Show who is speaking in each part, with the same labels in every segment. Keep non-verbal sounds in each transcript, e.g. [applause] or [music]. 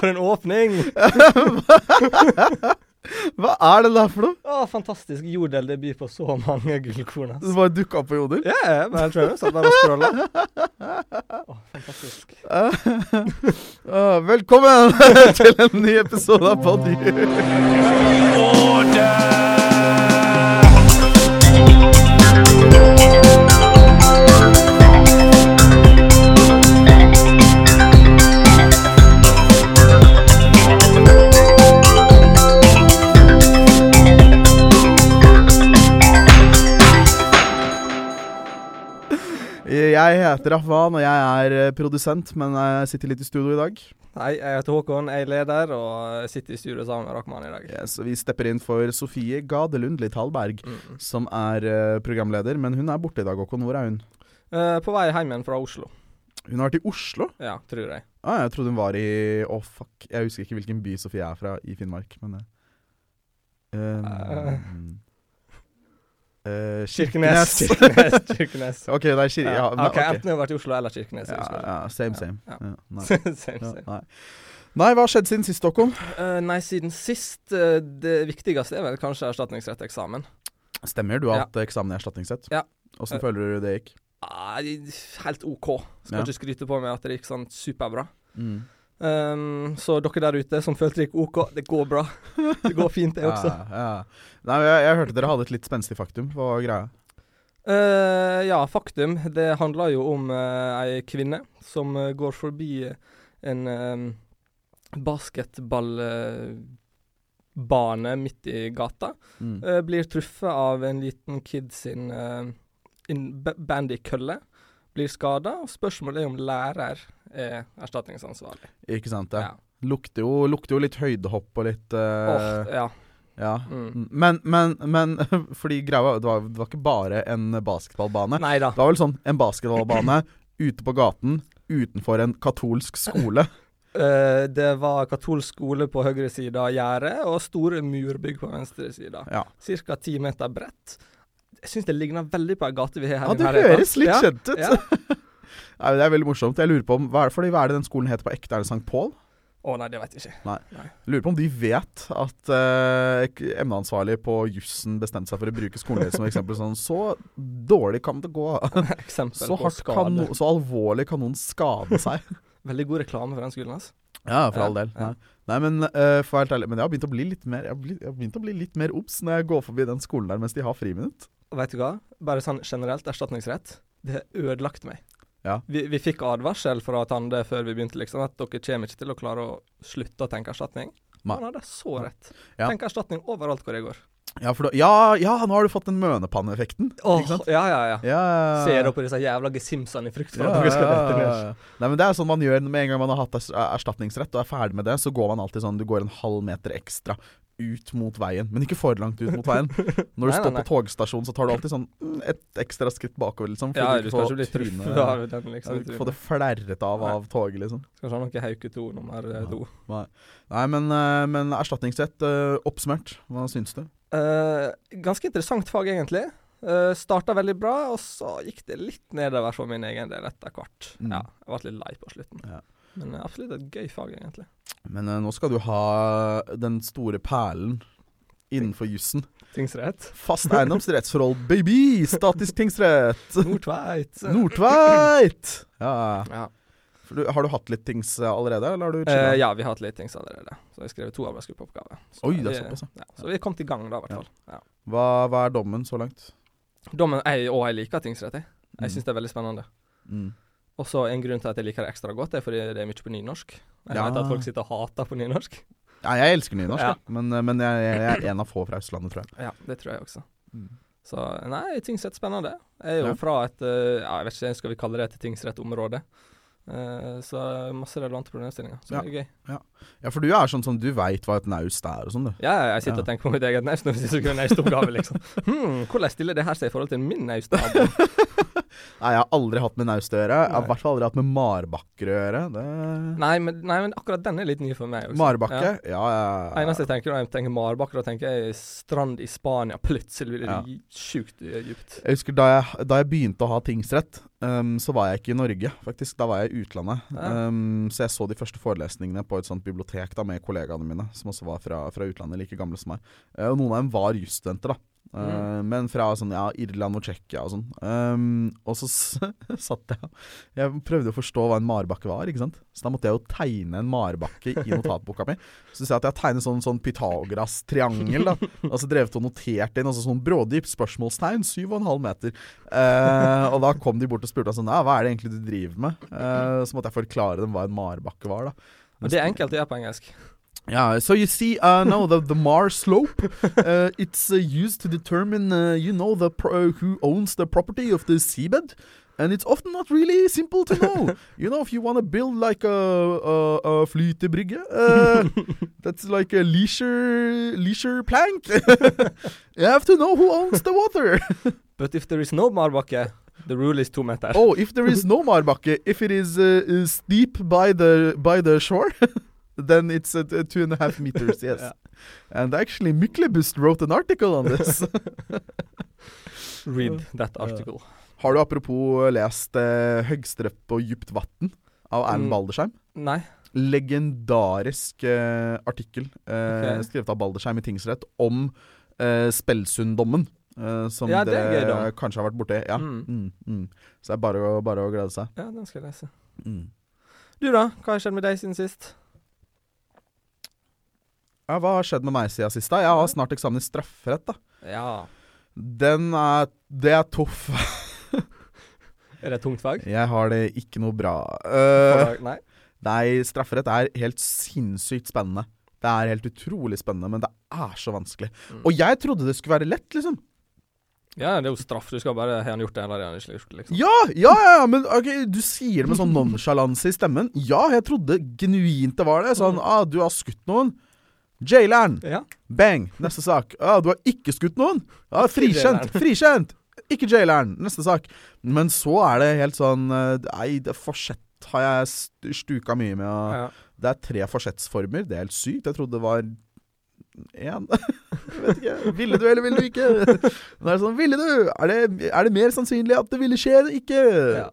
Speaker 1: For en åpning!
Speaker 2: Hva er det der for noe?
Speaker 1: Å, fantastisk. Jordel, det byr på så mange gullkorn. altså. ass.
Speaker 2: Det bare dukka opp på Jodel?
Speaker 1: Ja, ja, men jeg tror jeg satt der og scrolla. Å, fantastisk.
Speaker 2: Ah, velkommen [laughs] til en ny episode av Poddy. Jeg heter Afwan, og jeg er eh, produsent, men jeg sitter litt i studio i dag.
Speaker 1: Hei, jeg heter Håkon, jeg er leder, og sitter i studio sammen med Rakhman i dag.
Speaker 2: Yes, og Eh, vi stepper inn for Sofie Gadelund Lithalberg,
Speaker 1: Mm.
Speaker 2: som er eh, programleder. Men hun er borte i dag, Håkon. Hvor er hun?
Speaker 1: Eh, på vei hjem igjen fra Oslo.
Speaker 2: Hun har vært i Oslo.
Speaker 1: Ja, tror jeg.
Speaker 2: Ah, jeg trodde hun var i Å, fuck. Jeg husker ikke hvilken by Sofie er fra i Finnmark, men eh, eh, eh,
Speaker 1: Kirkenes. Kirkenes. [laughs] Kirkenes.
Speaker 2: [laughs] ok, det er Kir... Ja,
Speaker 1: ok,
Speaker 2: men- ok.
Speaker 1: Enten har jeg vært i Oslo eller Kirkenes. jeg
Speaker 2: ja,
Speaker 1: husker
Speaker 2: ja, same,
Speaker 1: Ja, [laughs] ja.
Speaker 2: same. Ja, [laughs] nei.
Speaker 1: ikke. Same,
Speaker 2: Ja,
Speaker 1: same.
Speaker 2: nei. nei, hva har skjedd siden sist, Håkon?
Speaker 1: Eh, nei, siden sist eh, Det viktigste er vel kanskje erstatningsretteksamen.
Speaker 2: Stemmer du at eksamen er erstatningsrett?
Speaker 1: Ja. Eh.
Speaker 2: Åssen føler du det gikk?
Speaker 1: Ah, helt OK. Skal
Speaker 2: Ja.
Speaker 1: ikke skryte på meg at det gikk sånn superbra.
Speaker 2: Mm.
Speaker 1: Ehm, så dere der ute som følte det gikk OK, det går bra. Det går fint, det også.
Speaker 2: Ja, ja. Nei, men jeg, jeg hørte dere hadde et litt spenstig faktum. Hva var greia?
Speaker 1: Eh, ja, faktum. Det handler jo om eh, ei kvinne som eh, går forbi eh, en eh, basketballbane midt i gata.
Speaker 2: Mm.
Speaker 1: Eh, blir truffet av en liten kid sin uh, bandykølle. Blir skada, og spørsmålet er om lærer er erstatningsansvarlig.
Speaker 2: Ikke sant?
Speaker 1: Ja.
Speaker 2: Ja. Lukter, jo, lukter jo litt høydehopp og litt eh,
Speaker 1: Åh, ja.
Speaker 2: Ja.
Speaker 1: Mm.
Speaker 2: Men, men, men [laughs] fordi greia var- det var, det var ikke bare en basketballbane.
Speaker 1: Nei da.
Speaker 2: Det var vel sånn en [clears throat] basketballbane ute på gaten utenfor en katolsk [clears throat] skole.
Speaker 1: Eh, det var katolsk skole på høyre side av gjerdet, og store murbygg på venstre side.
Speaker 2: Ja,
Speaker 1: Ca. ti meter bredt. Jeg syns det ligner veldig på ei gate vi har her.
Speaker 2: ja
Speaker 1: i
Speaker 2: det
Speaker 1: nærheten.
Speaker 2: høres litt
Speaker 1: Ja,
Speaker 2: kjent ut.
Speaker 1: ja.
Speaker 2: [laughs] Nei, det er veldig morsomt. Jeg lurer på om, hva er, det, fordi, hva er det den skolen heter på ekte? Er det St. Paul?
Speaker 1: Å nei, det vet jeg ikke. [laughs]
Speaker 2: Lurer på om de vet at eh, k- emneansvarlig på jussen bestemte seg for å bruke skolen deres som eksempel. Sånn, så dårlig kan det gå.
Speaker 1: Eksempel
Speaker 2: Så,
Speaker 1: på
Speaker 2: hardt
Speaker 1: skade.
Speaker 2: kan, no- så alvorlig kan noen skade seg.
Speaker 1: Veldig god reklame for den skolen, altså.
Speaker 2: [laughs] Ja, for
Speaker 1: Ja,
Speaker 2: all del.
Speaker 1: ja.
Speaker 2: Nei, Nei men eh, for å være helt ærlig Men jeg har begynt å bli litt mer Jeg har bli- jeg har begynt å bli litt mer obs når jeg går forbi den skolen der mens de har friminutt.
Speaker 1: Og Vet du hva? Bare sånn generelt, erstatningsrett, det har ødelagt meg.
Speaker 2: Ja.
Speaker 1: Vi, vi fikk advarsel fra Tande før vi begynte, liksom, at dere kommer ikke til å klare å slutte å tenke erstatning.
Speaker 2: Nei.
Speaker 1: Han hadde så rett.
Speaker 2: Ja.
Speaker 1: Tenk erstatning overalt hvor jeg går.
Speaker 2: Ja, for da, ja, ja, nå har du fått den mønepanneffekten.
Speaker 1: Åh,
Speaker 2: Ikke sant?
Speaker 1: ja, ja, ja.
Speaker 2: Ja.
Speaker 1: Ser dere på disse jævla gesimsene i frykt for
Speaker 2: Ja,
Speaker 1: at dere skal
Speaker 2: ja,
Speaker 1: dette ned.
Speaker 2: ja, ja. Nei, men Det er sånn man gjør med en gang man har hatt ers- erstatningsrett og er ferdig med det, så går man alltid sånn Du går en halv meter ekstra ut mot veien, men ikke for langt ut mot veien. Når du
Speaker 1: Nei, nei,
Speaker 2: står
Speaker 1: nei.
Speaker 2: på togstasjonen, så tar du alltid sånn mm, et ekstra skritt bakover, liksom.
Speaker 1: Ja, du
Speaker 2: du ikke
Speaker 1: skal
Speaker 2: får
Speaker 1: ikke bli
Speaker 2: trynet-
Speaker 1: [laughs] truffet av den,
Speaker 2: Ja,
Speaker 1: liksom.
Speaker 2: du
Speaker 1: i
Speaker 2: ikke
Speaker 1: trynet.
Speaker 2: får det flerret av
Speaker 1: Nei.
Speaker 2: av toget, liksom.
Speaker 1: Kanskje han har noe Hauke 2 nummer eh,
Speaker 2: Ja.
Speaker 1: to.
Speaker 2: Nei, men, eh, men erstatningsrett eh, oppsummert. Hva syns du?
Speaker 1: Eh, ganske interessant fag, egentlig. Uh, Starta veldig bra, og så gikk det litt nedover for min egen del etter hvert.
Speaker 2: Mm.
Speaker 1: Ja, jeg ble litt lei på slutten.
Speaker 2: Ja.
Speaker 1: Men eh, absolutt et gøy fag, egentlig.
Speaker 2: Men eh, nå skal du ha den store perlen innenfor jussen.
Speaker 1: Tingsrett.
Speaker 2: Fast eiendomsrettsforhold, baby! Statisk tingsrett.
Speaker 1: [laughs]
Speaker 2: [laughs]
Speaker 1: Nordtveit.
Speaker 2: Nordtveit! Ja.
Speaker 1: [laughs] Ja.
Speaker 2: For du, har du hatt litt tings eh, allerede, eller har du
Speaker 1: Eh,
Speaker 2: chillet?
Speaker 1: ja, vi har hatt litt tings allerede, så jeg skrev to arbeidsgruppeoppgaver. Så
Speaker 2: Oi, det er
Speaker 1: vi-
Speaker 2: såpass,
Speaker 1: ja. Så vi er kommet i gang, da, i hvert
Speaker 2: Ja.
Speaker 1: fall. Ja.
Speaker 2: Hva, hva er dommen så langt?
Speaker 1: Dommen, jeg, og jeg liker tingsrett, jeg. Jeg
Speaker 2: Mm.
Speaker 1: syns det er veldig spennende.
Speaker 2: Mm.
Speaker 1: Og så en grunn til at jeg liker det ekstra godt, er fordi det er mye på nynorsk. Jeg
Speaker 2: Ja.
Speaker 1: vet at folk sitter og hater på nynorsk.
Speaker 2: Ja, jeg elsker nynorsk,
Speaker 1: Ja.
Speaker 2: jeg. men, eh, men jeg, jeg er en av få fra Østlandet, tror jeg.
Speaker 1: Ja, det tror jeg også.
Speaker 2: Mm.
Speaker 1: Så nei, Tingsrett spennende. Jeg er jo
Speaker 2: Ja.
Speaker 1: fra et eh, ja, jeg vet ikke, skal vi kalle det et tingsrettområde? Eh, så masse relevante problemstillinger. Så det er gøy.
Speaker 2: Ja, for du er sånn som du veit hva et naust er og sånn, du.
Speaker 1: Ja, jeg sitter og tenker på mitt
Speaker 2: [laughs]
Speaker 1: eget naust når vi sier så kunne naustoppgave, liksom. Hmm, hvordan stiller det her seg i forhold til min naustnabo?
Speaker 2: Nei, jeg har aldri hatt med naust å gjøre. Jeg har i
Speaker 1: Nei.
Speaker 2: hvert fall aldri hatt med marbakker å gjøre. Det...
Speaker 1: Nei men, nei, men akkurat den er litt ny for meg. også.
Speaker 2: Marbakke?
Speaker 1: Ja.
Speaker 2: Ja, ja.
Speaker 1: Eneste jeg tenker når jeg tenker marbakke, da tenker jeg strand i Spania. Plutselig blir det
Speaker 2: Ja.
Speaker 1: sjukt eh, dypt.
Speaker 2: Jeg husker da jeg, da jeg begynte å ha tingsrett, ehm, så var jeg ikke i Norge, faktisk. Da var jeg i utlandet.
Speaker 1: Ja.
Speaker 2: Ehm, så jeg så de første forelesningene på et sånt bibliotek da, med kollegaene mine, som også var fra, fra utlandet, like gamle som meg. Eh, og noen av dem var jusstudenter, da. Eh, Men fra sånn, ja, Irland og Tsjekkia og sånn. Ehm, og så s- [laughs] satt jeg Jeg prøvde å forstå hva en marebakke var, ikke sant. Så da måtte jeg jo tegne en marebakke i notatboka mi. Så sa jeg at jeg tegnet sånn, sånn Pythagoras-triangel, da. Altså drevet og notert inn, altså sånn brådypt spørsmålstegn, 7,5 meter. Eh, og da kom de bort og spurte sånn, ja, hva er det egentlig du driver med? Eh, så måtte jeg forklare dem hva en marbakke var, da.
Speaker 1: Og det er enkelt å gjøre på engelsk.
Speaker 2: Yeah, so you see, uh, no, the, the Mar slope, uh, it's uh, used to determine, uh, you know, the pro- who owns the property of the seabed. And it's often not really simple to know. you know, if you want to build like a, a, a flytebrygge, uh, that's like a leisure, leisure plank. [laughs] you have to know who owns the water.
Speaker 1: But if there is no marbakke, the rule is to meter.
Speaker 2: oh, if there is no marbakke, if it is uh, uh, steep by the, by the shore, [laughs] then it's at uh, two and a
Speaker 1: [laughs]
Speaker 2: half meters, yes.
Speaker 1: Ja.
Speaker 2: And actually, Myklebust wrote an article
Speaker 1: [laughs]
Speaker 2: on this.
Speaker 1: Read that article.
Speaker 2: Har du apropos uh, lest eh, 'Høgstrøpp og djupt vatn' av Erlend
Speaker 1: Mm.
Speaker 2: Baldersheim?
Speaker 1: Nei.
Speaker 2: Legendarisk eh, artikkel eh,
Speaker 1: Ok.
Speaker 2: skrevet av Baldersheim i tingsrett om eh, Spelsundommen. eh, som
Speaker 1: Ja, det er
Speaker 2: dere
Speaker 1: gøy da.
Speaker 2: kanskje har vært borti. Ja.
Speaker 1: Mm.
Speaker 2: Mm, mm. Så det er bare å, bare å glede seg.
Speaker 1: Ja, den skal jeg lese.
Speaker 2: Mm.
Speaker 1: Du da, hva har skjedd med deg siden sist?
Speaker 2: Ja, hva har skjedd med meg siden sist? da? Jeg har snart eksamen i strafferett. da
Speaker 1: Ja.
Speaker 2: Den er, Det er toff. [laughs]
Speaker 1: Er det et tungt fag? Eh.
Speaker 2: Jeg har det ikke noe bra. Uh,
Speaker 1: Fag- Nei.
Speaker 2: Nei, strafferett er helt sinnssykt spennende. Det er helt utrolig spennende, men det er så vanskelig.
Speaker 1: Mm.
Speaker 2: Og jeg trodde det skulle være lett, liksom.
Speaker 1: Ja, det er jo straff. Du skal bare Har han gjort det, eller har han ikke gjort det, liksom?
Speaker 2: Ja, ja, ja, ja, men ok, du sier det med sånn nonsjalanse i stemmen. Ja, jeg trodde genuint det var det. Sånn, ah, du har skutt noen. Jaileren.
Speaker 1: Ja.
Speaker 2: Bang. Neste sak. Ah, du har ikke skutt noen. Ah, frikjent. Frikjent. Ikke jaileren. Neste sak. Men så er det helt sånn eh, Nei, det forsett har jeg st- stuka mye med. Og,
Speaker 1: ja.
Speaker 2: Det er tre forsettsformer. Det er helt sykt. Jeg trodde det var én. [laughs] Jeg vet ikke. Ville du, eller ville du ikke? Nå er det sånn, ville du? Er det, er det mer sannsynlig at det ville skje eller ikke?
Speaker 1: Ja.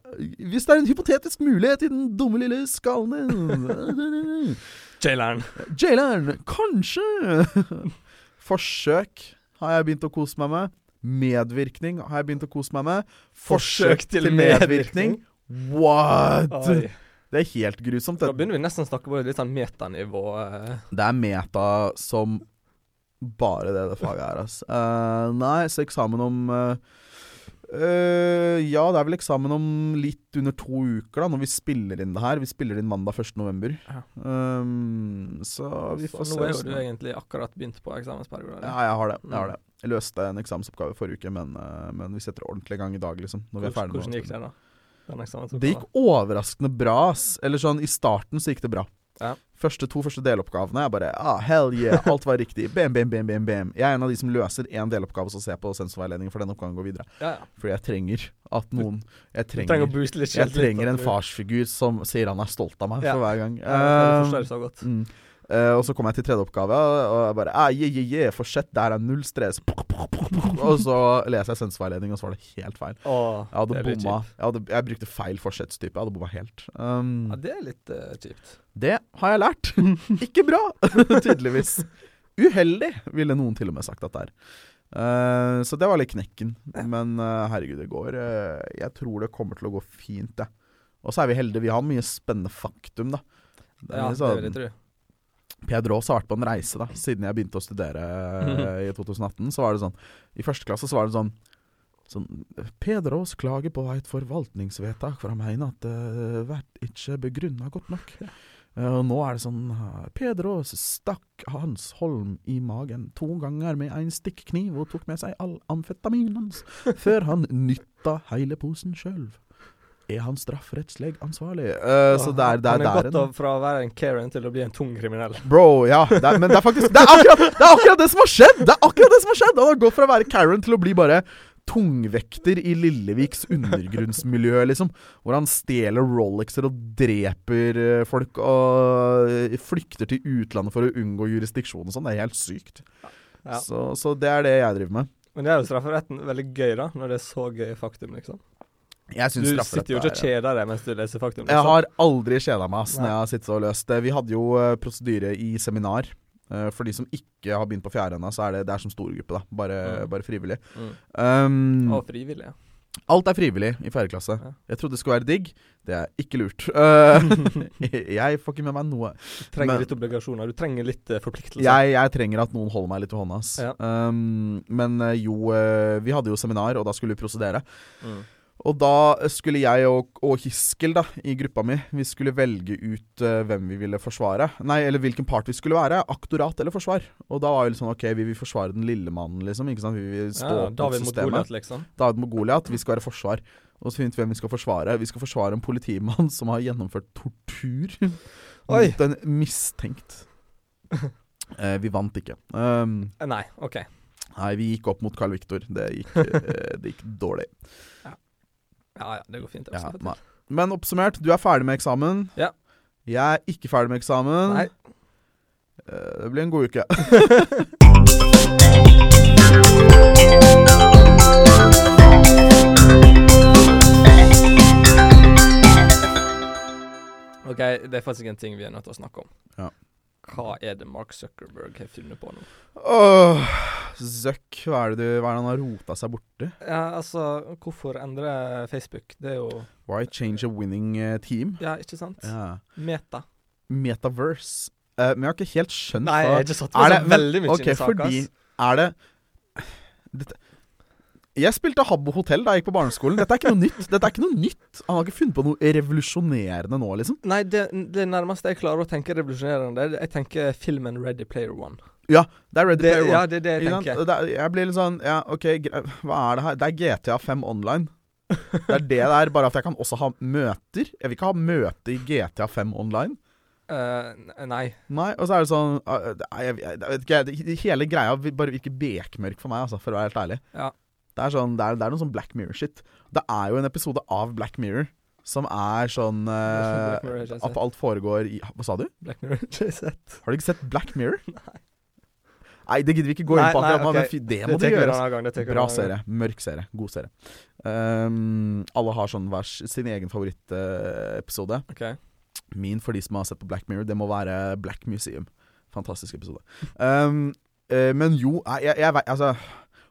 Speaker 2: Hvis det er en hypotetisk mulighet i den dumme lille skallen
Speaker 1: [laughs]
Speaker 2: din
Speaker 1: Jaileren.
Speaker 2: Jaileren, kanskje? [laughs] Forsøk har jeg begynt å kose meg med. Medvirkning har jeg begynt å kose meg med. Forsøk, til, medvirkning. What?!
Speaker 1: Oi.
Speaker 2: Det er helt grusomt.
Speaker 1: Ah. Da begynner vi nesten å snakke på et litt sånn metanivå. eh.
Speaker 2: Det er meta som bare det det faget er, ass. Eh, nei, så eksamen om eh, eh, Ja, det er vel eksamen om litt under to uker, da, når vi spiller inn det her. Vi spiller inn mandag 1. november.
Speaker 1: Ja.
Speaker 2: Ehm, så vi
Speaker 1: Så
Speaker 2: får
Speaker 1: nå er jo
Speaker 2: se.
Speaker 1: du
Speaker 2: hvordan-
Speaker 1: egentlig akkurat begynt på eksamensperioden.
Speaker 2: Ja, jeg har det. Jeg har
Speaker 1: Mm.
Speaker 2: det. Jeg løste en eksamensoppgave forrige uke, men, eh, men vi setter ordentlig i gang i dag, liksom. Når vi er
Speaker 1: Hvordan,
Speaker 2: ferdig
Speaker 1: hvordan
Speaker 2: med
Speaker 1: gikk det, da? Den eksamensboka?
Speaker 2: det gikk overraskende bra, ass. Eller sånn, i starten så gikk det bra.
Speaker 1: Ja.
Speaker 2: Første to første deloppgavene, jeg bare ah, hell yeah, alt var riktig. [laughs] Bam, bam, bam, bam, bam. Jeg er en av de som løser én deloppgave og så ser jeg på sensorveiledningen for den oppgaven går videre.
Speaker 1: Ja, ja.
Speaker 2: Fordi jeg trenger at noen Jeg
Speaker 1: Du trenger å
Speaker 2: trenger,
Speaker 1: booste litt
Speaker 2: jeg
Speaker 1: selvtillit,
Speaker 2: trenger
Speaker 1: da, tror
Speaker 2: en
Speaker 1: jeg.
Speaker 2: farsfigur som sier han er stolt av meg
Speaker 1: Ja.
Speaker 2: for hver
Speaker 1: Ja,
Speaker 2: gang.
Speaker 1: det forstår
Speaker 2: Eh,
Speaker 1: jeg så godt.
Speaker 2: Mm. Eh, og så kom jeg til tredje oppgave, og jeg bare ah, yeah, yeah, yeah, Forsett, der er null stress. Og så leser jeg senseveiledning, og så var det helt feil.
Speaker 1: Åh,
Speaker 2: Jeg hadde
Speaker 1: det er litt
Speaker 2: bomma.
Speaker 1: kjipt.
Speaker 2: Jeg, hadde, jeg brukte feil forsettstype. Jeg hadde bomma helt. Um,
Speaker 1: Ja, det er litt eh, kjipt.
Speaker 2: det har jeg lært. [laughs] Ikke bra, tydeligvis. Uheldig, ville noen til og med sagt at det er. Eh, så det var litt knekken. Men eh, herregud, det går eh, Jeg tror det kommer til å gå fint, jeg. Og så er vi heldige. Vi har mye spennende faktum, da. Det er
Speaker 1: Ja,
Speaker 2: litt
Speaker 1: det vil
Speaker 2: sånn-
Speaker 1: jeg tro.
Speaker 2: Peder Aas har vært på en reise da siden jeg begynte å studere eh, i 2018. Så var det sånn I første klasse så var det sånn, sånn Peder Aas klager på et forvaltningsvedtak, for han mener at det vært ikke begrunna godt nok. Eh, Og nå er det sånn Peder Aas stakk Hans Holm i magen to ganger med en stikkniv og tok med seg all amfetaminen hans før han nytta hele posen sjøl. Er han strafferettslig ansvarlig? Eh, så det er, det er
Speaker 1: Han er
Speaker 2: der
Speaker 1: gått av fra å være en Karen til å bli en tung kriminell.
Speaker 2: Bro, ja. Det er, men det er faktisk det er, akkurat, det er akkurat det som har skjedd! Det er akkurat det som har skjedd Han har gått fra å være Karen til å bli bare tungvekter i Lilleviks undergrunnsmiljø, liksom. Hvor han stjeler Rolexer og dreper eh, folk og flykter til utlandet for å unngå jurisdiksjon og sånn. Det er helt sykt.
Speaker 1: Ja.
Speaker 2: Så, så det er det jeg driver med.
Speaker 1: Men det er jo strafferetten veldig gøy, da, når det er så gøy faktum, liksom.
Speaker 2: Jeg
Speaker 1: Du
Speaker 2: syns strafferett
Speaker 1: sitter jo ikke
Speaker 2: er-
Speaker 1: og kjeder deg mens du leser faktum.
Speaker 2: Jeg
Speaker 1: Liksom.
Speaker 2: har aldri kjeda meg ass, når
Speaker 1: Nei.
Speaker 2: jeg har sittet og løst det. Vi hadde jo eh, prosedyre i seminar. Eh, For de som ikke har begynt på fjerde ennå, så er det, det er som storgruppe, da. Bare,
Speaker 1: Mm.
Speaker 2: bare frivillig.
Speaker 1: Mm.
Speaker 2: Um,
Speaker 1: Og frivillige.
Speaker 2: alt er frivillig i fjerde klasse.
Speaker 1: Ja.
Speaker 2: Jeg trodde det skulle være digg. Det er ikke lurt. [laughs] Eh, [laughs] jeg får ikke med meg noe.
Speaker 1: Du trenger
Speaker 2: Men-
Speaker 1: litt obligasjoner. Du trenger litt eh, forpliktelser.
Speaker 2: Jeg, jeg trenger at noen holder meg litt i hånda. Ass.
Speaker 1: Ja.
Speaker 2: Um, men eh, jo, eh, vi hadde jo seminar, og da skulle vi prosedere.
Speaker 1: Mm.
Speaker 2: Og da skulle jeg og, og Hiskel da, i gruppa mi, vi skulle velge ut eh, hvem vi ville forsvare. Nei, eller hvilken part vi skulle være. Aktorat eller forsvar. Og da var vi litt sånn OK, vi vil forsvare den lille mannen, liksom. Ikke sant? Vi vil stå
Speaker 1: Ja,
Speaker 2: opp mot
Speaker 1: David mot
Speaker 2: systemet.
Speaker 1: Goliat, liksom.
Speaker 2: David mot Goliat. Vi skal være forsvar. Og så finner vi ut hvem vi skal forsvare. Vi skal forsvare en politimann som har gjennomført tortur
Speaker 1: Oi.
Speaker 2: mot en mistenkt. Eh, vi vant ikke. Um,
Speaker 1: Eh, Nei, OK.
Speaker 2: nei, vi gikk opp mot Carl Victor. Det gikk, eh, det gikk dårlig.
Speaker 1: Ja ja, det går fint.
Speaker 2: Ja,
Speaker 1: absolutt.
Speaker 2: nei. Men oppsummert, du er ferdig med eksamen.
Speaker 1: Ja.
Speaker 2: Jeg er ikke ferdig med eksamen.
Speaker 1: Nei.
Speaker 2: Eh, Det blir en god uke. [laughs]
Speaker 1: OK, det er faktisk en ting vi er nødt til å snakke om.
Speaker 2: Ja.
Speaker 1: Hva er det Mark Zuckerberg har funnet på nå?
Speaker 2: Åh, Zuck, hva er det du Hva er det han har rota seg borti?
Speaker 1: Ja, altså, hvorfor endre Facebook? Det er jo
Speaker 2: Why change a winning eh, team?
Speaker 1: Ja, ikke sant?
Speaker 2: Ja.
Speaker 1: Meta.
Speaker 2: Metaverse. Eh, men jeg har ikke helt skjønt
Speaker 1: Nei, jeg
Speaker 2: hva
Speaker 1: har ikke satt
Speaker 2: Er
Speaker 1: meg
Speaker 2: det-
Speaker 1: så
Speaker 2: men-
Speaker 1: veldig mye
Speaker 2: Ok,
Speaker 1: inn i saka.
Speaker 2: fordi
Speaker 1: ass.
Speaker 2: er det Dette Jeg spilte Habbo hotell da jeg gikk på barneskolen. Dette er ikke noe nytt. Dette er ikke noe nytt. Han har ikke funnet på noe revolusjonerende nå, liksom.
Speaker 1: Nei, det, det nærmeste jeg klarer å tenke revolusjonerende, er- jeg tenker filmen Ready Player One.
Speaker 2: Det er Ready
Speaker 1: Det,
Speaker 2: Player One.
Speaker 1: ja, det er det jeg
Speaker 2: Ikke sant?
Speaker 1: tenker.
Speaker 2: Og det er- Jeg blir litt sånn Ja, OK, gre- hva er det her? Det er GTA 5 online. Det er det det er, bare at jeg kan også ha møter. Jeg vil ikke ha møte i GTA 5 online.
Speaker 1: [laughs] Eh, n- nei.
Speaker 2: Nei, og så er det sånn ah, Nei, jeg, jeg, jeg vet ikke, det- Hele greia vil- bare virker bekmørk for meg, altså, for å være helt ærlig.
Speaker 1: Ja.
Speaker 2: Det er sånn, det er, det er noe sånn Black Mirror-shit. Det er jo en episode av Black Mirror som er
Speaker 1: [laughs]
Speaker 2: sånn eh,
Speaker 1: Black Mirror har jeg ikke
Speaker 2: At
Speaker 1: sett.
Speaker 2: alt foregår i Hva sa du?
Speaker 1: Black
Speaker 2: [laughs]
Speaker 1: Mirror har jeg sett.
Speaker 2: Har du ikke sett Black
Speaker 1: [laughs]
Speaker 2: Mirror? Nei. Nei, det gidder vi ikke gå
Speaker 1: Nei,
Speaker 2: inn på
Speaker 1: nei,
Speaker 2: akkurat nå, men
Speaker 1: ok.
Speaker 2: fy, det
Speaker 1: Det
Speaker 2: må du
Speaker 1: tenker vi
Speaker 2: gjøre. altså.
Speaker 1: en annen gang. Det tenker vi en
Speaker 2: Bra
Speaker 1: annen gang.
Speaker 2: serie. Mørk serie. God serie. Ehm, alle har sånn hver s- sin egen favorittepisode.
Speaker 1: Ok.
Speaker 2: Min for de som har sett på Black Mirror, det må være Black Museum. Fantastisk episode. Ehm, eh, men jo, nei, jeg, jeg vei- Altså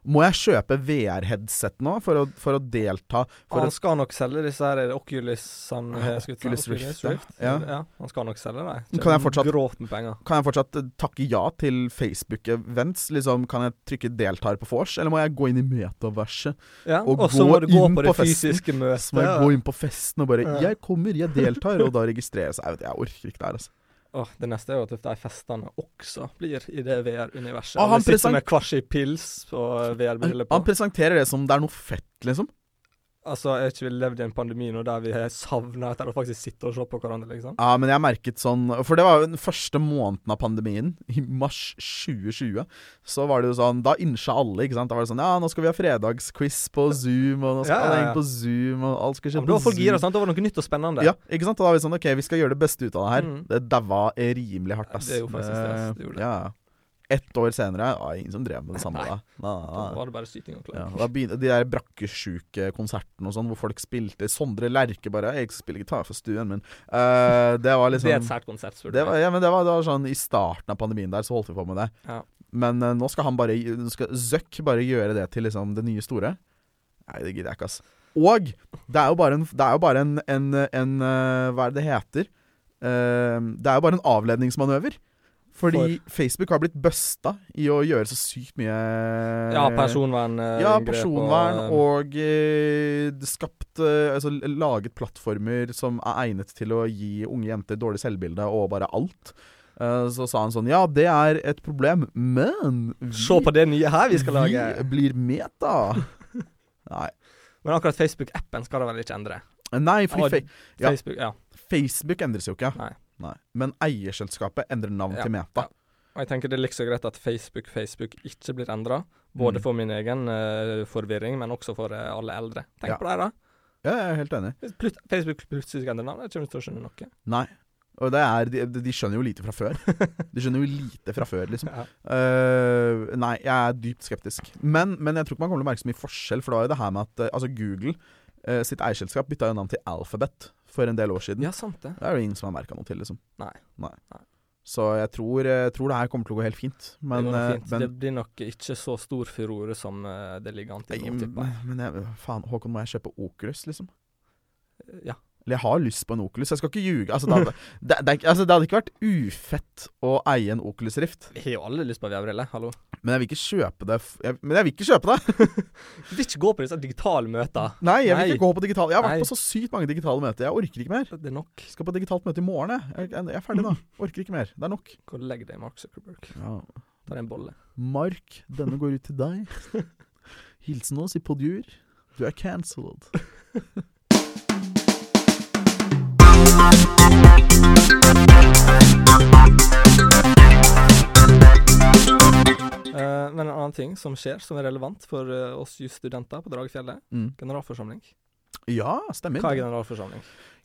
Speaker 2: må jeg kjøpe VR-headset nå for å, for å delta? For
Speaker 1: han
Speaker 2: å,
Speaker 1: skal nok selge disse her er det Oculus han
Speaker 2: Ja,
Speaker 1: jeg skulle si,
Speaker 2: Oculus Rift, ja.
Speaker 1: Ja.
Speaker 2: Ja.
Speaker 1: Han skal nok selge dem.
Speaker 2: Men kan jeg fortsatt-
Speaker 1: Gråt med penger.
Speaker 2: kan jeg fortsatt eh, takke ja til Facebook-events? Liksom, kan jeg trykke 'deltar' på vors, eller må jeg gå inn i metaverset?
Speaker 1: Ja,
Speaker 2: Og
Speaker 1: og så
Speaker 2: gå
Speaker 1: må du gå
Speaker 2: inn
Speaker 1: på
Speaker 2: på
Speaker 1: det
Speaker 2: festen,
Speaker 1: fysiske
Speaker 2: [laughs] Så må jeg
Speaker 1: møtet.
Speaker 2: gå inn på festen og bare
Speaker 1: Ja.
Speaker 2: 'Jeg kommer, jeg deltar', og da registreres jeg. Vet, jeg orker ikke det her, altså.
Speaker 1: Åh, det neste er jo at de festene også blir i det VR-universet.
Speaker 2: Åh,
Speaker 1: Ah, han
Speaker 2: han
Speaker 1: sitter
Speaker 2: present-
Speaker 1: med hver sin pils og VR-briller på.
Speaker 2: Han presenterer det som det er noe fett, liksom.
Speaker 1: Altså, jeg har ikke levd i en pandemi nå der vi har savna etter å faktisk sitte og se på hverandre, liksom.
Speaker 2: Ja, men jeg merket sånn For det var jo den første måneden av pandemien, i mars 2020. Så var det jo sånn Da innsa alle, ikke sant. Da var det sånn Ja, nå skal vi ha fredagsquiz på Zoom, og nå skal
Speaker 1: Ja, ja,
Speaker 2: alle
Speaker 1: ja.
Speaker 2: inn på Zoom, og alt skal
Speaker 1: Ja,
Speaker 2: skje
Speaker 1: men
Speaker 2: på
Speaker 1: da var folk gira,
Speaker 2: Zoom.
Speaker 1: sant? Da var det noe nytt og spennende.
Speaker 2: Ja, ikke sant? Og da var vi sånn OK, vi skal gjøre det beste ut av det her.
Speaker 1: Mm.
Speaker 2: Det daua rimelig hardt, ass. Eh,
Speaker 1: Det er jo faktisk det, ass. Det gjorde det.
Speaker 2: Ja. Ett år senere ja, ingen som drev med det samme
Speaker 1: Nei.
Speaker 2: da.
Speaker 1: Da
Speaker 2: Nei, nei, nei.
Speaker 1: var det bare syting og
Speaker 2: Ja,
Speaker 1: klaging.
Speaker 2: og da begynte de der brakkesjuke konsertene og sånn, hvor folk spilte Sondre Lerche bare 'Jeg spiller gitar for stuen min'. Eh, det var
Speaker 1: Det er et
Speaker 2: liksom
Speaker 1: sært konsept, spør du
Speaker 2: det var, ja, men det var, det var sånn I starten av pandemien der så holdt vi på med det.
Speaker 1: Ja.
Speaker 2: Men eh, nå skal han bare nå skal Zuck bare gjøre det til liksom det nye store. Nei, det gidder jeg ikke, ass. Og det er jo bare en, det er jo bare en, en, en eh, Hva er det det heter? Eh, det er jo bare en avledningsmanøver. Fordi Facebook har blitt busta i å gjøre så sykt mye
Speaker 1: meg. Ja, personvern. eh,
Speaker 2: ja,
Speaker 1: grep og,
Speaker 2: personvern
Speaker 1: eh,
Speaker 2: og eh, det skapt eh, Altså l- laget plattformer som er egnet til å gi unge jenter dårlig selvbilde og bare alt. Eh, så sa han sånn Ja, det er et problem, men vi,
Speaker 1: eh, Se på det nye her vi skal lage.
Speaker 2: vi blir meta.
Speaker 1: [laughs]
Speaker 2: Nei.
Speaker 1: Men akkurat Facebook-appen skal det vel ikke endre?
Speaker 2: Nei, fordi
Speaker 1: Ah,
Speaker 2: fe Ja.
Speaker 1: Facebook, ja.
Speaker 2: Facebook endres jo ikke.
Speaker 1: Nei.
Speaker 2: Men eierselskapet endrer navn
Speaker 1: Ja,
Speaker 2: til Meta.
Speaker 1: ja. Og jeg tenker det er like så greit at Facebook, Facebook ikke blir endra. Både
Speaker 2: Mm.
Speaker 1: for min egen eh, forvirring, men også for eh, alle eldre. Tenk
Speaker 2: Ja.
Speaker 1: på det, da.
Speaker 2: Ja, jeg er helt enig.
Speaker 1: Hvis plut Facebook plutselig skal endre navn, jeg kommer ikke til å skjønne noe.
Speaker 2: [laughs] Nei. Og det er, de, de skjønner jo lite fra før. De skjønner jo lite fra før, liksom.
Speaker 1: Ja.
Speaker 2: Eh, nei, jeg er dypt skeptisk. Men, men jeg tror ikke man kommer til å merke så mye forskjell, for det var jo det her med at eh, altså Google eh, sitt eierselskap bytta jo navn til Alphabet for en del år siden.
Speaker 1: ja, sant det.
Speaker 2: Det er jo ingen som har merka noe til, liksom.
Speaker 1: Nei. Nei.
Speaker 2: Så jeg tror, eh, jeg tror det her kommer til å gå helt fint. Men,
Speaker 1: det, går nok fint.
Speaker 2: eh, men
Speaker 1: det blir nok ikke så stor furore som eh, det ligger an til
Speaker 2: Nei,
Speaker 1: nå, tipper jeg.
Speaker 2: men jeg, faen, Håkon, må jeg kjøpe Oculus, liksom?
Speaker 1: Ja.
Speaker 2: Eller jeg har lyst på en Oculus, jeg skal ikke ljuge. Altså, det, hadde, [laughs] det, det, er ikke- altså, det hadde ikke vært ufett å eie en Oculus Rift,
Speaker 1: Vi har jo alle lyst på VR-briller, hallo.
Speaker 2: men jeg vil ikke kjøpe det f jeg, Men jeg vil ikke kjøpe det!
Speaker 1: Du vil ikke gå på disse digitale møtene.
Speaker 2: Nei, jeg vil
Speaker 1: Nei.
Speaker 2: ikke gå på digitale Jeg har vært
Speaker 1: Nei.
Speaker 2: på så sykt mange digitale møter, jeg orker ikke mer.
Speaker 1: Det er nok.
Speaker 2: Jeg skal på digitalt møte i morgen, jeg. jeg. Jeg er ferdig nå. Orker ikke mer. Det er nok.
Speaker 1: Gå og legg deg, Mark Zuckerberg. Ta deg en bolle.
Speaker 2: Mark, denne går ut til deg. Hilsen oss i podjur. Du er cancelled.
Speaker 1: Eh, men en annen ting som skjer, som er relevant for eh, oss jusstudenter på Dragfjellet,
Speaker 2: Mm.
Speaker 1: generalforsamling.
Speaker 2: Ja, stemmer.
Speaker 1: Hva er generalforsamling?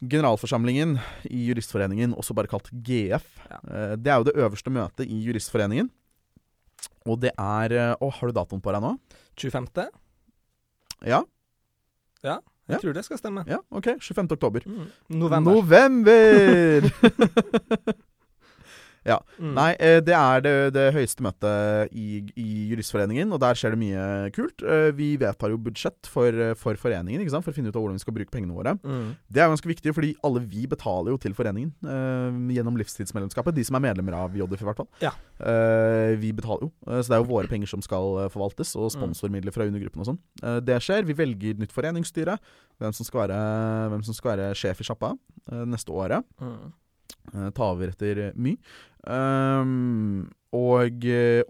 Speaker 2: Generalforsamlingen i Juristforeningen, også bare kalt GF.
Speaker 1: Ja.
Speaker 2: Eh, Det er jo det øverste møtet i Juristforeningen. Og det er eh, Å, har du datoen på deg nå?
Speaker 1: 25.?
Speaker 2: Ja?
Speaker 1: Jeg
Speaker 2: Ja.
Speaker 1: tror det skal stemme.
Speaker 2: ja ok. 25. oktober.
Speaker 1: Mm. November.
Speaker 2: November!
Speaker 1: Mm.
Speaker 2: Nei, eh, det er det, det høyeste møtet i, i Juristforeningen, og der skjer det mye kult. Eh, Vi vedtar jo budsjett for, eh, for foreningen, ikke sant? for å finne ut av hvordan vi skal bruke pengene våre.
Speaker 1: Mm.
Speaker 2: Det er ganske viktig, fordi alle vi betaler jo til foreningen eh, gjennom livstidsmedlemskapet. De som er medlemmer av JDF, i hvert fall.
Speaker 1: Ja.
Speaker 2: Eh, vi betaler jo, eh, så det er jo våre penger som skal eh, forvaltes,
Speaker 1: Mm.
Speaker 2: og sponsormidler fra undergruppen og sånn. Eh, det skjer. Vi velger nytt foreningsstyre, hvem som skal være, hvem som skal være sjef i sjappa eh, neste året.
Speaker 1: Mm.
Speaker 2: Eh, ta over etter My. Ehm, og,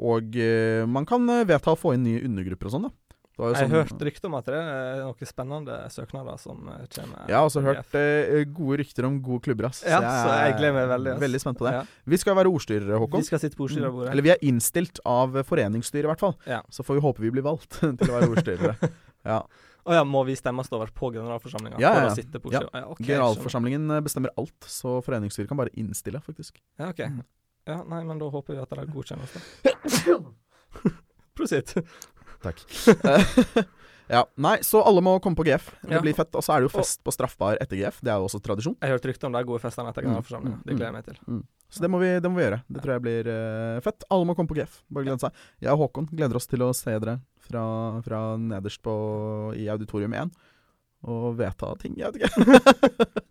Speaker 2: og eh, man kan eh, vedta å få inn nye undergrupper og sånn, da. Det var jo
Speaker 1: Jeg
Speaker 2: sånn-
Speaker 1: hørte rykte om at det er noen spennende søknader som eh, kommer.
Speaker 2: Jeg har også
Speaker 1: til
Speaker 2: hørt
Speaker 1: GF.
Speaker 2: eh, gode rykter om gode klubber, ass.
Speaker 1: Ja, så jeg gleder meg veldig. ass.
Speaker 2: Veldig spent på det.
Speaker 1: Ja.
Speaker 2: Vi skal være ordstyrere, Håkon.
Speaker 1: Vi skal sitte på ordstyrebordet.
Speaker 2: Eller vi er innstilt av foreningsstyret, i hvert fall.
Speaker 1: Ja.
Speaker 2: Så får vi håpe vi blir valgt [laughs] til å være
Speaker 1: [laughs]
Speaker 2: ordstyrere. ja.
Speaker 1: Å ja, må vi stemmes over på generalforsamlinga?
Speaker 2: Ja, ja,
Speaker 1: For
Speaker 2: ja.
Speaker 1: å sitte på
Speaker 2: Ja.
Speaker 1: ordstyre- ja. ok, jeg skjønner.
Speaker 2: Generalforsamlingen eh, bestemmer alt, så foreningsstyret kan bare innstille, faktisk. [laughs]
Speaker 1: Ja, ok.
Speaker 2: Mm.
Speaker 1: Ja, nei, men da håper vi at det godkjennes, da.
Speaker 2: [laughs]
Speaker 1: Prosit.
Speaker 2: Takk. Eh, ja. Nei, så alle må komme på GF. Det
Speaker 1: Ja.
Speaker 2: blir fett. Og så er det jo fest på straffbar etter GF. Det er jo også tradisjon.
Speaker 1: Jeg hørte rykte om de gode festene etter
Speaker 2: Mm,
Speaker 1: generalforsamlinga.
Speaker 2: mm,
Speaker 1: Det gleder jeg meg til.
Speaker 2: Så det må vi, det må vi gjøre. Det tror jeg blir eh, fett. Alle må komme på GF. Bare glede seg. Jeg og Håkon gleder oss til å se dere fra, fra nederst på, i auditorium 1 og vedta ting. Jeg vet ikke.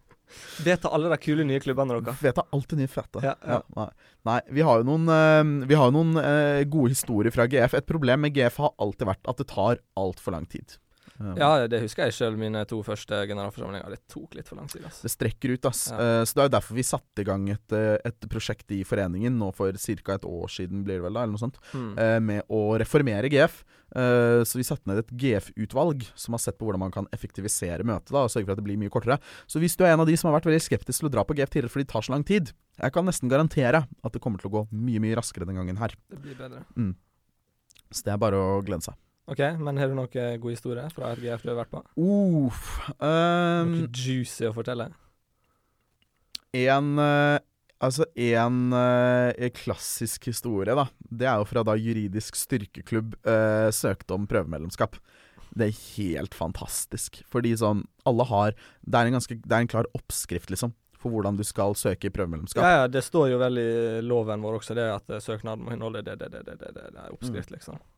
Speaker 1: Vedta alle de kule nye klubbene deres.
Speaker 2: [laughs] Vedta alltid nye fete.
Speaker 1: Ja, ja.
Speaker 2: nei. nei, vi har jo noen, eh, vi har jo noen eh, gode historier fra GF. Et problem med GF har alltid vært at det tar altfor lang tid. Eh,
Speaker 1: Ja, det husker jeg sjøl, mine to første generalforsamlinger. Det tok litt for lang tid, altså.
Speaker 2: Det strekker ut, ass.
Speaker 1: Ja.
Speaker 2: Eh, så det er jo derfor vi satte i gang et, eh, et prosjekt i foreningen nå for ca. et år siden, blir det vel da, eller noe sånt,
Speaker 1: Mm.
Speaker 2: eh, med å reformere GF. Eh, så vi satte ned et GF-utvalg som har sett på hvordan man kan effektivisere møtet da, og sørge for at det blir mye kortere. Så hvis du er en av de som har vært veldig skeptisk til å dra på GF tidligere fordi det tar så lang tid, jeg kan nesten garantere at det kommer til å gå mye, mye raskere den gangen her.
Speaker 1: Det blir bedre.
Speaker 2: Så det er bare å glede seg.
Speaker 1: OK, men har du noen gode historier fra RGF du har vært på?
Speaker 2: Uff.
Speaker 1: Noe
Speaker 2: ehm,
Speaker 1: juicy å fortelle?
Speaker 2: En eh, Altså en eh, klassisk historie, da. Det er jo fra da juridisk styrkeklubb eh, søkte om prøvemedlemskap. Det er helt fantastisk. Fordi sånn Alle har Det er en, ganske, det er en klar oppskrift, liksom, for hvordan du skal søke i prøvemedlemskap.
Speaker 1: Ja, ja, det står jo vel i loven vår også det at eh, søknaden må inneholde det, det, det, det, det, det, det er oppskrift, liksom.
Speaker 2: Ja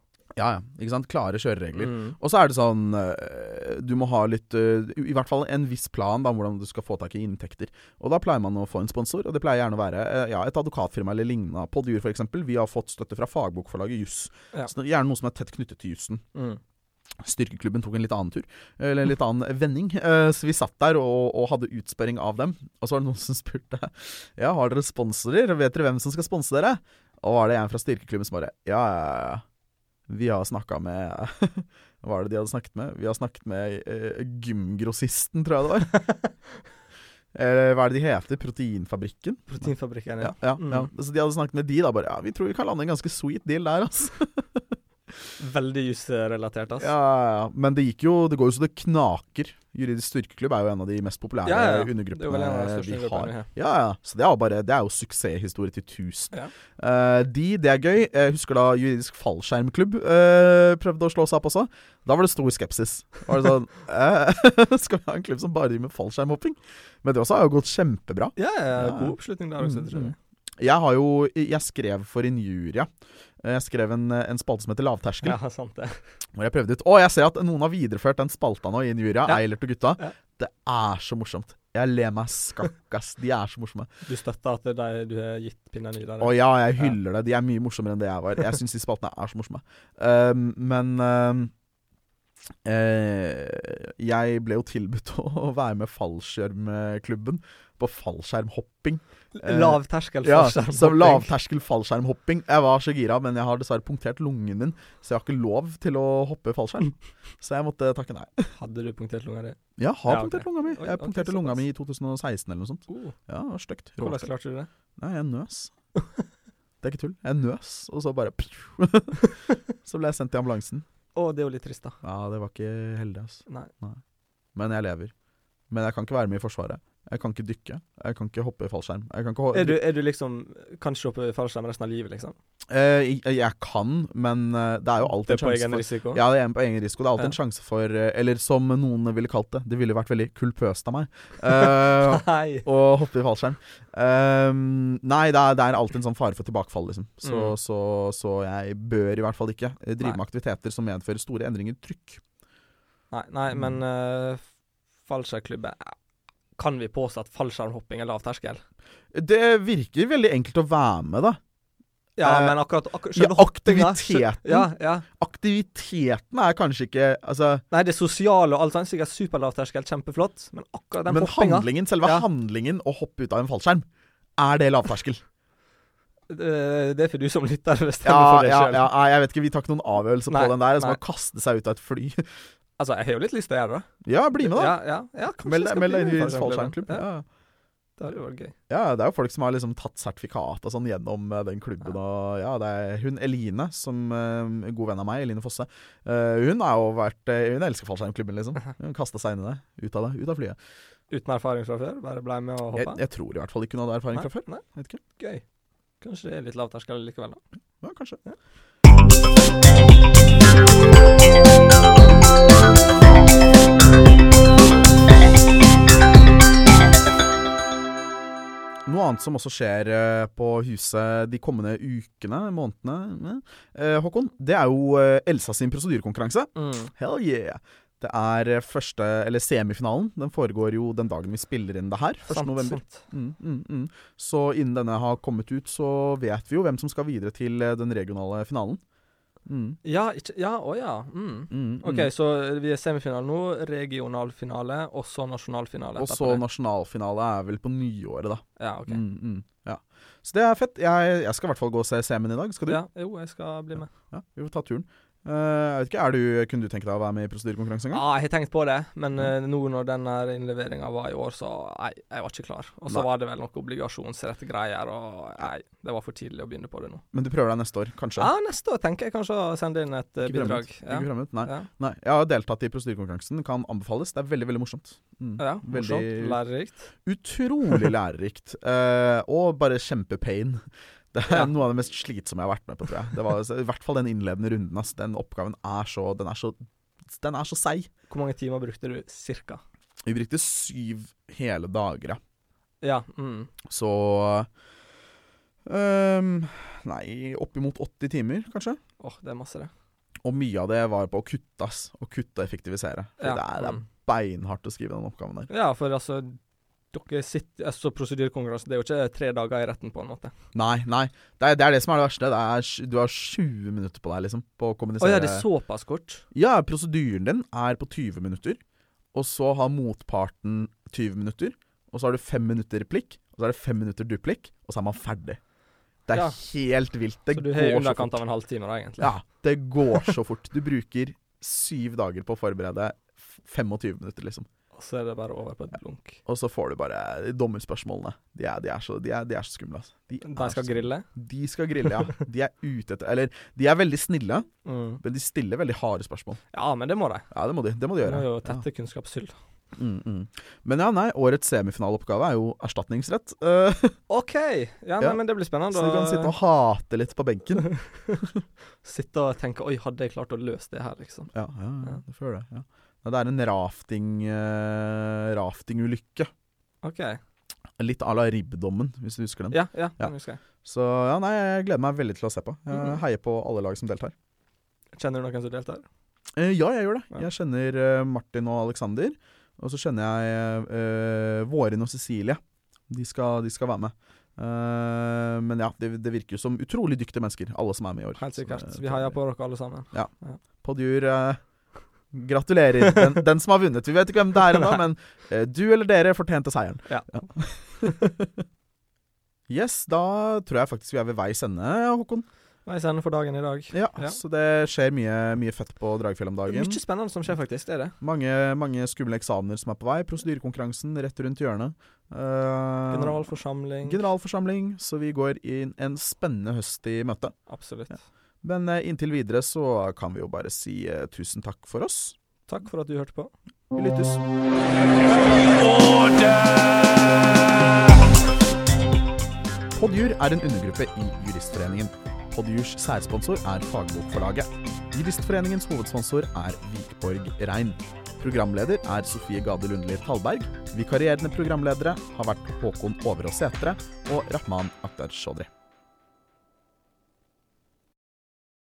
Speaker 2: ja. Ikke sant? Klare kjøreregler.
Speaker 1: Mm.
Speaker 2: Og så er det sånn eh, Du må ha litt eh, I hvert fall en viss plan da om hvordan du skal få tak i inntekter. Og da pleier man å få en sponsor, og det pleier gjerne å være eh, ja, et advokatfirma eller lignende. Podjur f.eks. Vi har fått støtte fra fagbokforlaget Juss.
Speaker 1: Ja.
Speaker 2: Så det er Gjerne noe som er tett knyttet til jussen.
Speaker 1: Mm.
Speaker 2: Styrkeklubben tok en litt annen tur, eller en litt annen vending. Eh, Så vi satt der og, og hadde utspørring av dem. Og så var det noen som spurte Ja, har dere sponsorer? Vet dere hvem som skal sponse dere? Og var det en fra styrkeklubben som bare Ja, ja, ja. Vi har snakka med [laughs] Hva
Speaker 1: Mm.
Speaker 2: var det de hadde snakket med? Vi har snakket med eh, gymgrossisten, tror jeg det var. eh, hva er det de heter? Proteinfabrikken?
Speaker 1: [laughs] Proteinfabrikken, ja.
Speaker 2: Ja, ja,
Speaker 1: Mm.
Speaker 2: ja. Så de hadde snakket med de da, bare ja, vi tror vi kan lande en ganske sweet deal der, altså.
Speaker 1: Veldig jusrelatert, ass.
Speaker 2: Ja, ja, ja. Men det gikk jo Det går jo så det knaker. Juridisk styrkeklubb er jo en av de mest populære
Speaker 1: Ja, ja, ja. Det er jo vel en av de
Speaker 2: undergruppene
Speaker 1: største
Speaker 2: vi
Speaker 1: gruppene
Speaker 2: har.
Speaker 1: vi har.
Speaker 2: Ja, ja. Så det er jo bare Det er jo suksesshistorie til tusen.
Speaker 1: Ja.
Speaker 2: Eh, de, det er gøy. Jeg husker da Juridisk fallskjermklubb eh, prøvde å slå seg opp også. Da var det stor skepsis. Da Var det sånn [laughs] eh, [laughs] Skal vi ha en klubb som bare driver med fallskjermhopping? Men det også har jo gått kjempebra.
Speaker 1: Ja, ja,
Speaker 2: Ja.
Speaker 1: god oppslutning der også,
Speaker 2: Mm,
Speaker 1: tror jeg.
Speaker 2: Jeg har jo Jeg skrev for Injuria. Eh, Jeg skrev en, en spalte som heter Lavterskel.
Speaker 1: Ja, [laughs] sant det.
Speaker 2: Hvor jeg prøvde ut Å, jeg ser at noen har videreført den spalta nå i Injuria.
Speaker 1: Ja.
Speaker 2: Eilert og gutta.
Speaker 1: Ja.
Speaker 2: Det er så morsomt. Jeg ler meg skakk, ass. De er så morsomme.
Speaker 1: Du støtter at det er de du har gitt pinnen i der?
Speaker 2: Å ja, jeg hyller det. De er mye morsommere enn det jeg var. Jeg syns de spaltene er så morsomme. Um, men um, eh, jeg ble jo tilbudt [laughs] å være med fallskjermklubben på fallskjermhopping. eh,
Speaker 1: Lav terskel
Speaker 2: Ja,
Speaker 1: fallskjerm,
Speaker 2: som
Speaker 1: hopping.
Speaker 2: lavterskel fallskjermhopping. Jeg var så gira, men jeg har dessverre punktert lungen min, så jeg har ikke lov til å hoppe fallskjerm. Så jeg måtte takke nei.
Speaker 1: Hadde du punktert lunga di?
Speaker 2: Ja, har
Speaker 1: Ja, ok.
Speaker 2: punktert lunga mi.
Speaker 1: Oi,
Speaker 2: Jeg
Speaker 1: ok,
Speaker 2: punkterte
Speaker 1: såpass.
Speaker 2: lunga mi i 2016 eller noe sånt.
Speaker 1: Oh,
Speaker 2: Ja, det var stygt.
Speaker 1: hvordan klarte du det?
Speaker 2: Nei, jeg nøs.
Speaker 1: [laughs]
Speaker 2: Det er ikke tull. Jeg nøs, og så bare Så ble jeg sendt til ambulansen.
Speaker 1: Å, det er jo litt trist, da.
Speaker 2: Ja, det var ikke heldig, altså.
Speaker 1: Nei.
Speaker 2: Men jeg lever. Men jeg kan ikke være med i Forsvaret. Jeg kan ikke dykke. Jeg kan ikke hoppe i fallskjerm. Jeg kan ikke ho
Speaker 1: Er du, er du liksom Kan ikke hoppe fallskjerm resten av livet, liksom?
Speaker 2: Eh, jeg, jeg kan, men eh, det er jo alltid
Speaker 1: Det
Speaker 2: en
Speaker 1: er på
Speaker 2: sjanse
Speaker 1: egen
Speaker 2: for
Speaker 1: risiko?
Speaker 2: Ja, det er på egen risiko. Det er alltid
Speaker 1: Ja.
Speaker 2: en sjanse for eh, Eller som noen ville kalt det, det ville vært veldig
Speaker 1: [laughs]
Speaker 2: kulpøst av meg. Eh,
Speaker 1: Nei.
Speaker 2: Og hoppe i fallskjerm. Ehm, nei, det er, det er alltid en sånn fare for tilbakefall, liksom. Så,
Speaker 1: Mm.
Speaker 2: så, så jeg bør i hvert fall ikke eh, drive
Speaker 1: Nei.
Speaker 2: med aktiviteter som medfører store endringer i trykk.
Speaker 1: Nei, nei
Speaker 2: Mm.
Speaker 1: men uh, fallskjermklubben Kan vi påstå at fallskjermhopping er lav terskel?
Speaker 2: Det virker veldig enkelt å være med, da.
Speaker 1: Ja,
Speaker 2: Eh,
Speaker 1: men akkurat ak
Speaker 2: Ja,
Speaker 1: Skjønner
Speaker 2: aktiviteten
Speaker 1: Ja, ja.
Speaker 2: Aktiviteten er kanskje ikke Altså,
Speaker 1: Nei, det sosiale og alt sånt, sikkert superlav terskel, kjempeflott, men akkurat den
Speaker 2: men
Speaker 1: hoppinga
Speaker 2: handlingen, selve
Speaker 1: Ja.
Speaker 2: handlingen å hoppe ut av en fallskjerm, er
Speaker 1: [laughs]
Speaker 2: det lavterskel?
Speaker 1: Eh, Det er for du som lytter bestemmer
Speaker 2: Ja,
Speaker 1: for deg
Speaker 2: ja,
Speaker 1: sjøl.
Speaker 2: ja, nei, jeg vet ikke, vi tar ikke noen avgjørelse på
Speaker 1: Nei,
Speaker 2: den der. Det
Speaker 1: nei.
Speaker 2: er som å kaste seg ut av et fly. [laughs]
Speaker 1: Altså, jeg har jo litt lyst til å gjøre det.
Speaker 2: Ja, bli med, da.
Speaker 1: Ja, ja, ja, kanskje jeg
Speaker 2: Meld deg-
Speaker 1: skal
Speaker 2: meld
Speaker 1: bli
Speaker 2: deg
Speaker 1: med i
Speaker 2: inn i fallskjermklubb.
Speaker 1: Ja,
Speaker 2: Ja.
Speaker 1: det hadde jo vært gøy.
Speaker 2: Ja, det er jo folk som har liksom tatt sertifikat og sånn gjennom eh, den klubben.
Speaker 1: Ja.
Speaker 2: Og ja, det er hun Eline, som eh, god venn av meg, Eline Fosse, eh, hun har jo vært eh, Hun elsker fallskjermklubben, liksom. Hun kasta seg inn i det. Ut av det. Ut av flyet.
Speaker 1: Uten erfaring fra før, bare blei med og
Speaker 2: Jeg,
Speaker 1: hoppa?
Speaker 2: jeg tror i hvert fall ikke hun hadde erfaring fra før.
Speaker 1: Nei,
Speaker 2: Vet ikke.
Speaker 1: gøy. Kanskje det er litt lav terskel likevel, da.
Speaker 2: Ja, kanskje.
Speaker 1: Ja.
Speaker 2: Noe annet som også skjer eh, på huset de kommende ukene, månedene, eh, Håkon, det er jo eh, Elsa sin prosedyrekonkurranse. Hell yeah! Det er eh, første, eller semifinalen. Den foregår jo den dagen vi spiller inn det her. 1.
Speaker 1: Sant,
Speaker 2: november.
Speaker 1: sant.
Speaker 2: Mm, mm, mm. Så innen denne har kommet ut, så vet vi jo hvem som skal videre til eh, den regionale finalen. Mm,
Speaker 1: Ja, ikke Ja, å ja. Mm.
Speaker 2: mm, mm.
Speaker 1: OK, så vi er semifinale nå, regionalfinale, og så nasjonalfinale.
Speaker 2: Og
Speaker 1: etterpå
Speaker 2: så
Speaker 1: det.
Speaker 2: nasjonalfinale er vel på nyåret, da.
Speaker 1: Ja, OK.
Speaker 2: Mm, mm, ja. Så det er fett. Jeg, jeg skal i hvert fall gå og se semien i dag. Skal du?
Speaker 1: Ja, jo, jeg skal bli med.
Speaker 2: Ja, vi får ta turen. Eh, jeg vet ikke, er du, Kunne du tenke deg å være med i prosedyrekonkurranse en
Speaker 1: Ja,
Speaker 2: gang?
Speaker 1: Ah, jeg har tenkt på det, men
Speaker 2: Mm.
Speaker 1: eh, nå når den innleveringa var i år, så nei, jeg var ikke klar. Og så
Speaker 2: Nei.
Speaker 1: var det vel noen obligasjonsrette greier, og nei, det var for tidlig å begynne på det nå.
Speaker 2: Men du prøver deg neste år, kanskje?
Speaker 1: Ja, neste år tenker jeg kanskje å sende inn et eh,
Speaker 2: Ikke
Speaker 1: bidrag.
Speaker 2: fremmed.
Speaker 1: Ja.
Speaker 2: Ikke fremmed. Nei.
Speaker 1: Ja.
Speaker 2: Nei. Jeg har deltatt i prosedyrekonkurransen. Kan anbefales. Det er veldig veldig morsomt. Mm.
Speaker 1: Ja, morsomt.
Speaker 2: Veldig-
Speaker 1: Lærerikt. [laughs]
Speaker 2: Utrolig lærerikt. eh, og bare kjempepain. Det er
Speaker 1: Ja.
Speaker 2: noe av det mest slitsomme jeg har vært med på, tror jeg. Det var, altså, I hvert fall den innledende runden. Ass. Den oppgaven er så Den er så, den er så seig.
Speaker 1: Hvor mange timer brukte du cirka?
Speaker 2: Vi brukte syv hele dager, ja.
Speaker 1: Ja. Mm.
Speaker 2: Så ehm, Nei, oppimot 80 timer, kanskje.
Speaker 1: Åh, det er masse, det.
Speaker 2: Og mye av det var på å kutte, ass. Å kutte og effektivisere. For
Speaker 1: Ja,
Speaker 2: det, er, det er
Speaker 1: mm.
Speaker 2: beinhardt å skrive den oppgaven der.
Speaker 1: ja, for altså dere sitter, altså Prosedyrekonkurranse, det er jo ikke tre dager i retten, på en måte.
Speaker 2: Nei, nei. Det er, det er det som er det verste. Det er, sj- du har 20 minutter på deg liksom på
Speaker 1: Å
Speaker 2: å kommunisere.
Speaker 1: ja, det er såpass kort?
Speaker 2: Ja, prosedyren din er på 20 minutter. Og så har motparten 20 minutter. Og så har du 5 minutter replikk. Og så er det 5 minutter duplikk. Og så er man ferdig. Det er
Speaker 1: Ja.
Speaker 2: helt vilt. Det
Speaker 1: så du har i
Speaker 2: går så
Speaker 1: underkant
Speaker 2: fort.
Speaker 1: av en halvtime, da, egentlig?
Speaker 2: Ja, det går så fort. Du bruker syv dager på å forberede f- 25 minutter, liksom.
Speaker 1: og så er det bare over på et blunk.
Speaker 2: Og så får du bare dommerspørsmålene. De er, de er, så, de er, de er så skumle, altså. De,
Speaker 1: De
Speaker 2: er
Speaker 1: skal
Speaker 2: så-
Speaker 1: grille.
Speaker 2: de skal grille, ja. De er ute etter Eller, de er veldig snille,
Speaker 1: Mm.
Speaker 2: men de stiller veldig harde spørsmål.
Speaker 1: Ja, men det må de.
Speaker 2: Ja, det må de, det må de
Speaker 1: Det
Speaker 2: gjøre.
Speaker 1: er jo
Speaker 2: Ja.
Speaker 1: tette kunnskapshull.
Speaker 2: Mm, mm. Men ja, nei, årets semifinaleoppgave er jo erstatningsrett. Eh, [laughs]
Speaker 1: OK! Ja, nei,
Speaker 2: Ja.
Speaker 1: men det blir spennende.
Speaker 2: så du kan sitte og hate litt på benken.
Speaker 1: Sitte og tenke 'oi, hadde jeg klart å løse det her', liksom.
Speaker 2: Ja, ja, ja
Speaker 1: Ja.
Speaker 2: du får gjøre det. Ja. Nei, Det er en rafting eh, raftingulykke.
Speaker 1: OK.
Speaker 2: Litt à la Ribbdommen, hvis du husker den.
Speaker 1: Ja, ja,
Speaker 2: Ja.
Speaker 1: den husker jeg.
Speaker 2: Så ja, nei, jeg gleder meg veldig til å se på. Jeg
Speaker 1: Mhm.
Speaker 2: heier på alle lag som deltar.
Speaker 1: Kjenner du noen som deltar?
Speaker 2: Eh, ja, jeg gjør det.
Speaker 1: Ja.
Speaker 2: Jeg kjenner eh, Martin og Alexander. Og så kjenner jeg eh, Vårin og Cecilie. De skal, de skal være med. Eh, men ja, det, det virker jo som utrolig dyktige mennesker, alle som er med i år.
Speaker 1: Helt
Speaker 2: Så
Speaker 1: sikkert.
Speaker 2: det-
Speaker 1: Vi heier på dere alle sammen.
Speaker 2: Podjur, eh, gratulerer. Den, den som har vunnet. Vi vet ikke hvem det er
Speaker 1: [laughs] Nei.
Speaker 2: ennå, men eh, du eller dere fortjente seieren.
Speaker 1: Ja.
Speaker 2: [laughs] yes, da tror jeg faktisk vi er ved veis ende, Håkon.
Speaker 1: Hva er scenen for dagen i dag?
Speaker 2: Ja,
Speaker 1: Ja.
Speaker 2: Så det skjer mye, mye fett på Dragfjell om dagen.
Speaker 1: Mye spennende som skjer, faktisk. Det er det.
Speaker 2: Mange, mange skumle eksamener som er på vei. Prosedyrekonkurransen rett rundt hjørnet. Eh,
Speaker 1: Generalforsamling.
Speaker 2: generalforsamling. Så vi går inn en spennende høst i møte.
Speaker 1: Absolutt.
Speaker 2: Men eh, inntil videre så kan vi jo bare si eh, tusen takk for oss.
Speaker 1: Takk for at du hørte på.
Speaker 2: Vi lyttes. Podjur er en undergruppe i Juristforeningen. Podjurs særsponsor er Fagbokforlaget. Juristforeningens hovedsponsor er Vikborg Rein. Programleder er Sofie Gade Lundli Talberg. Vikarierende programledere har vært Håkon Overås Sætre og Rahman Akhtar Shodri.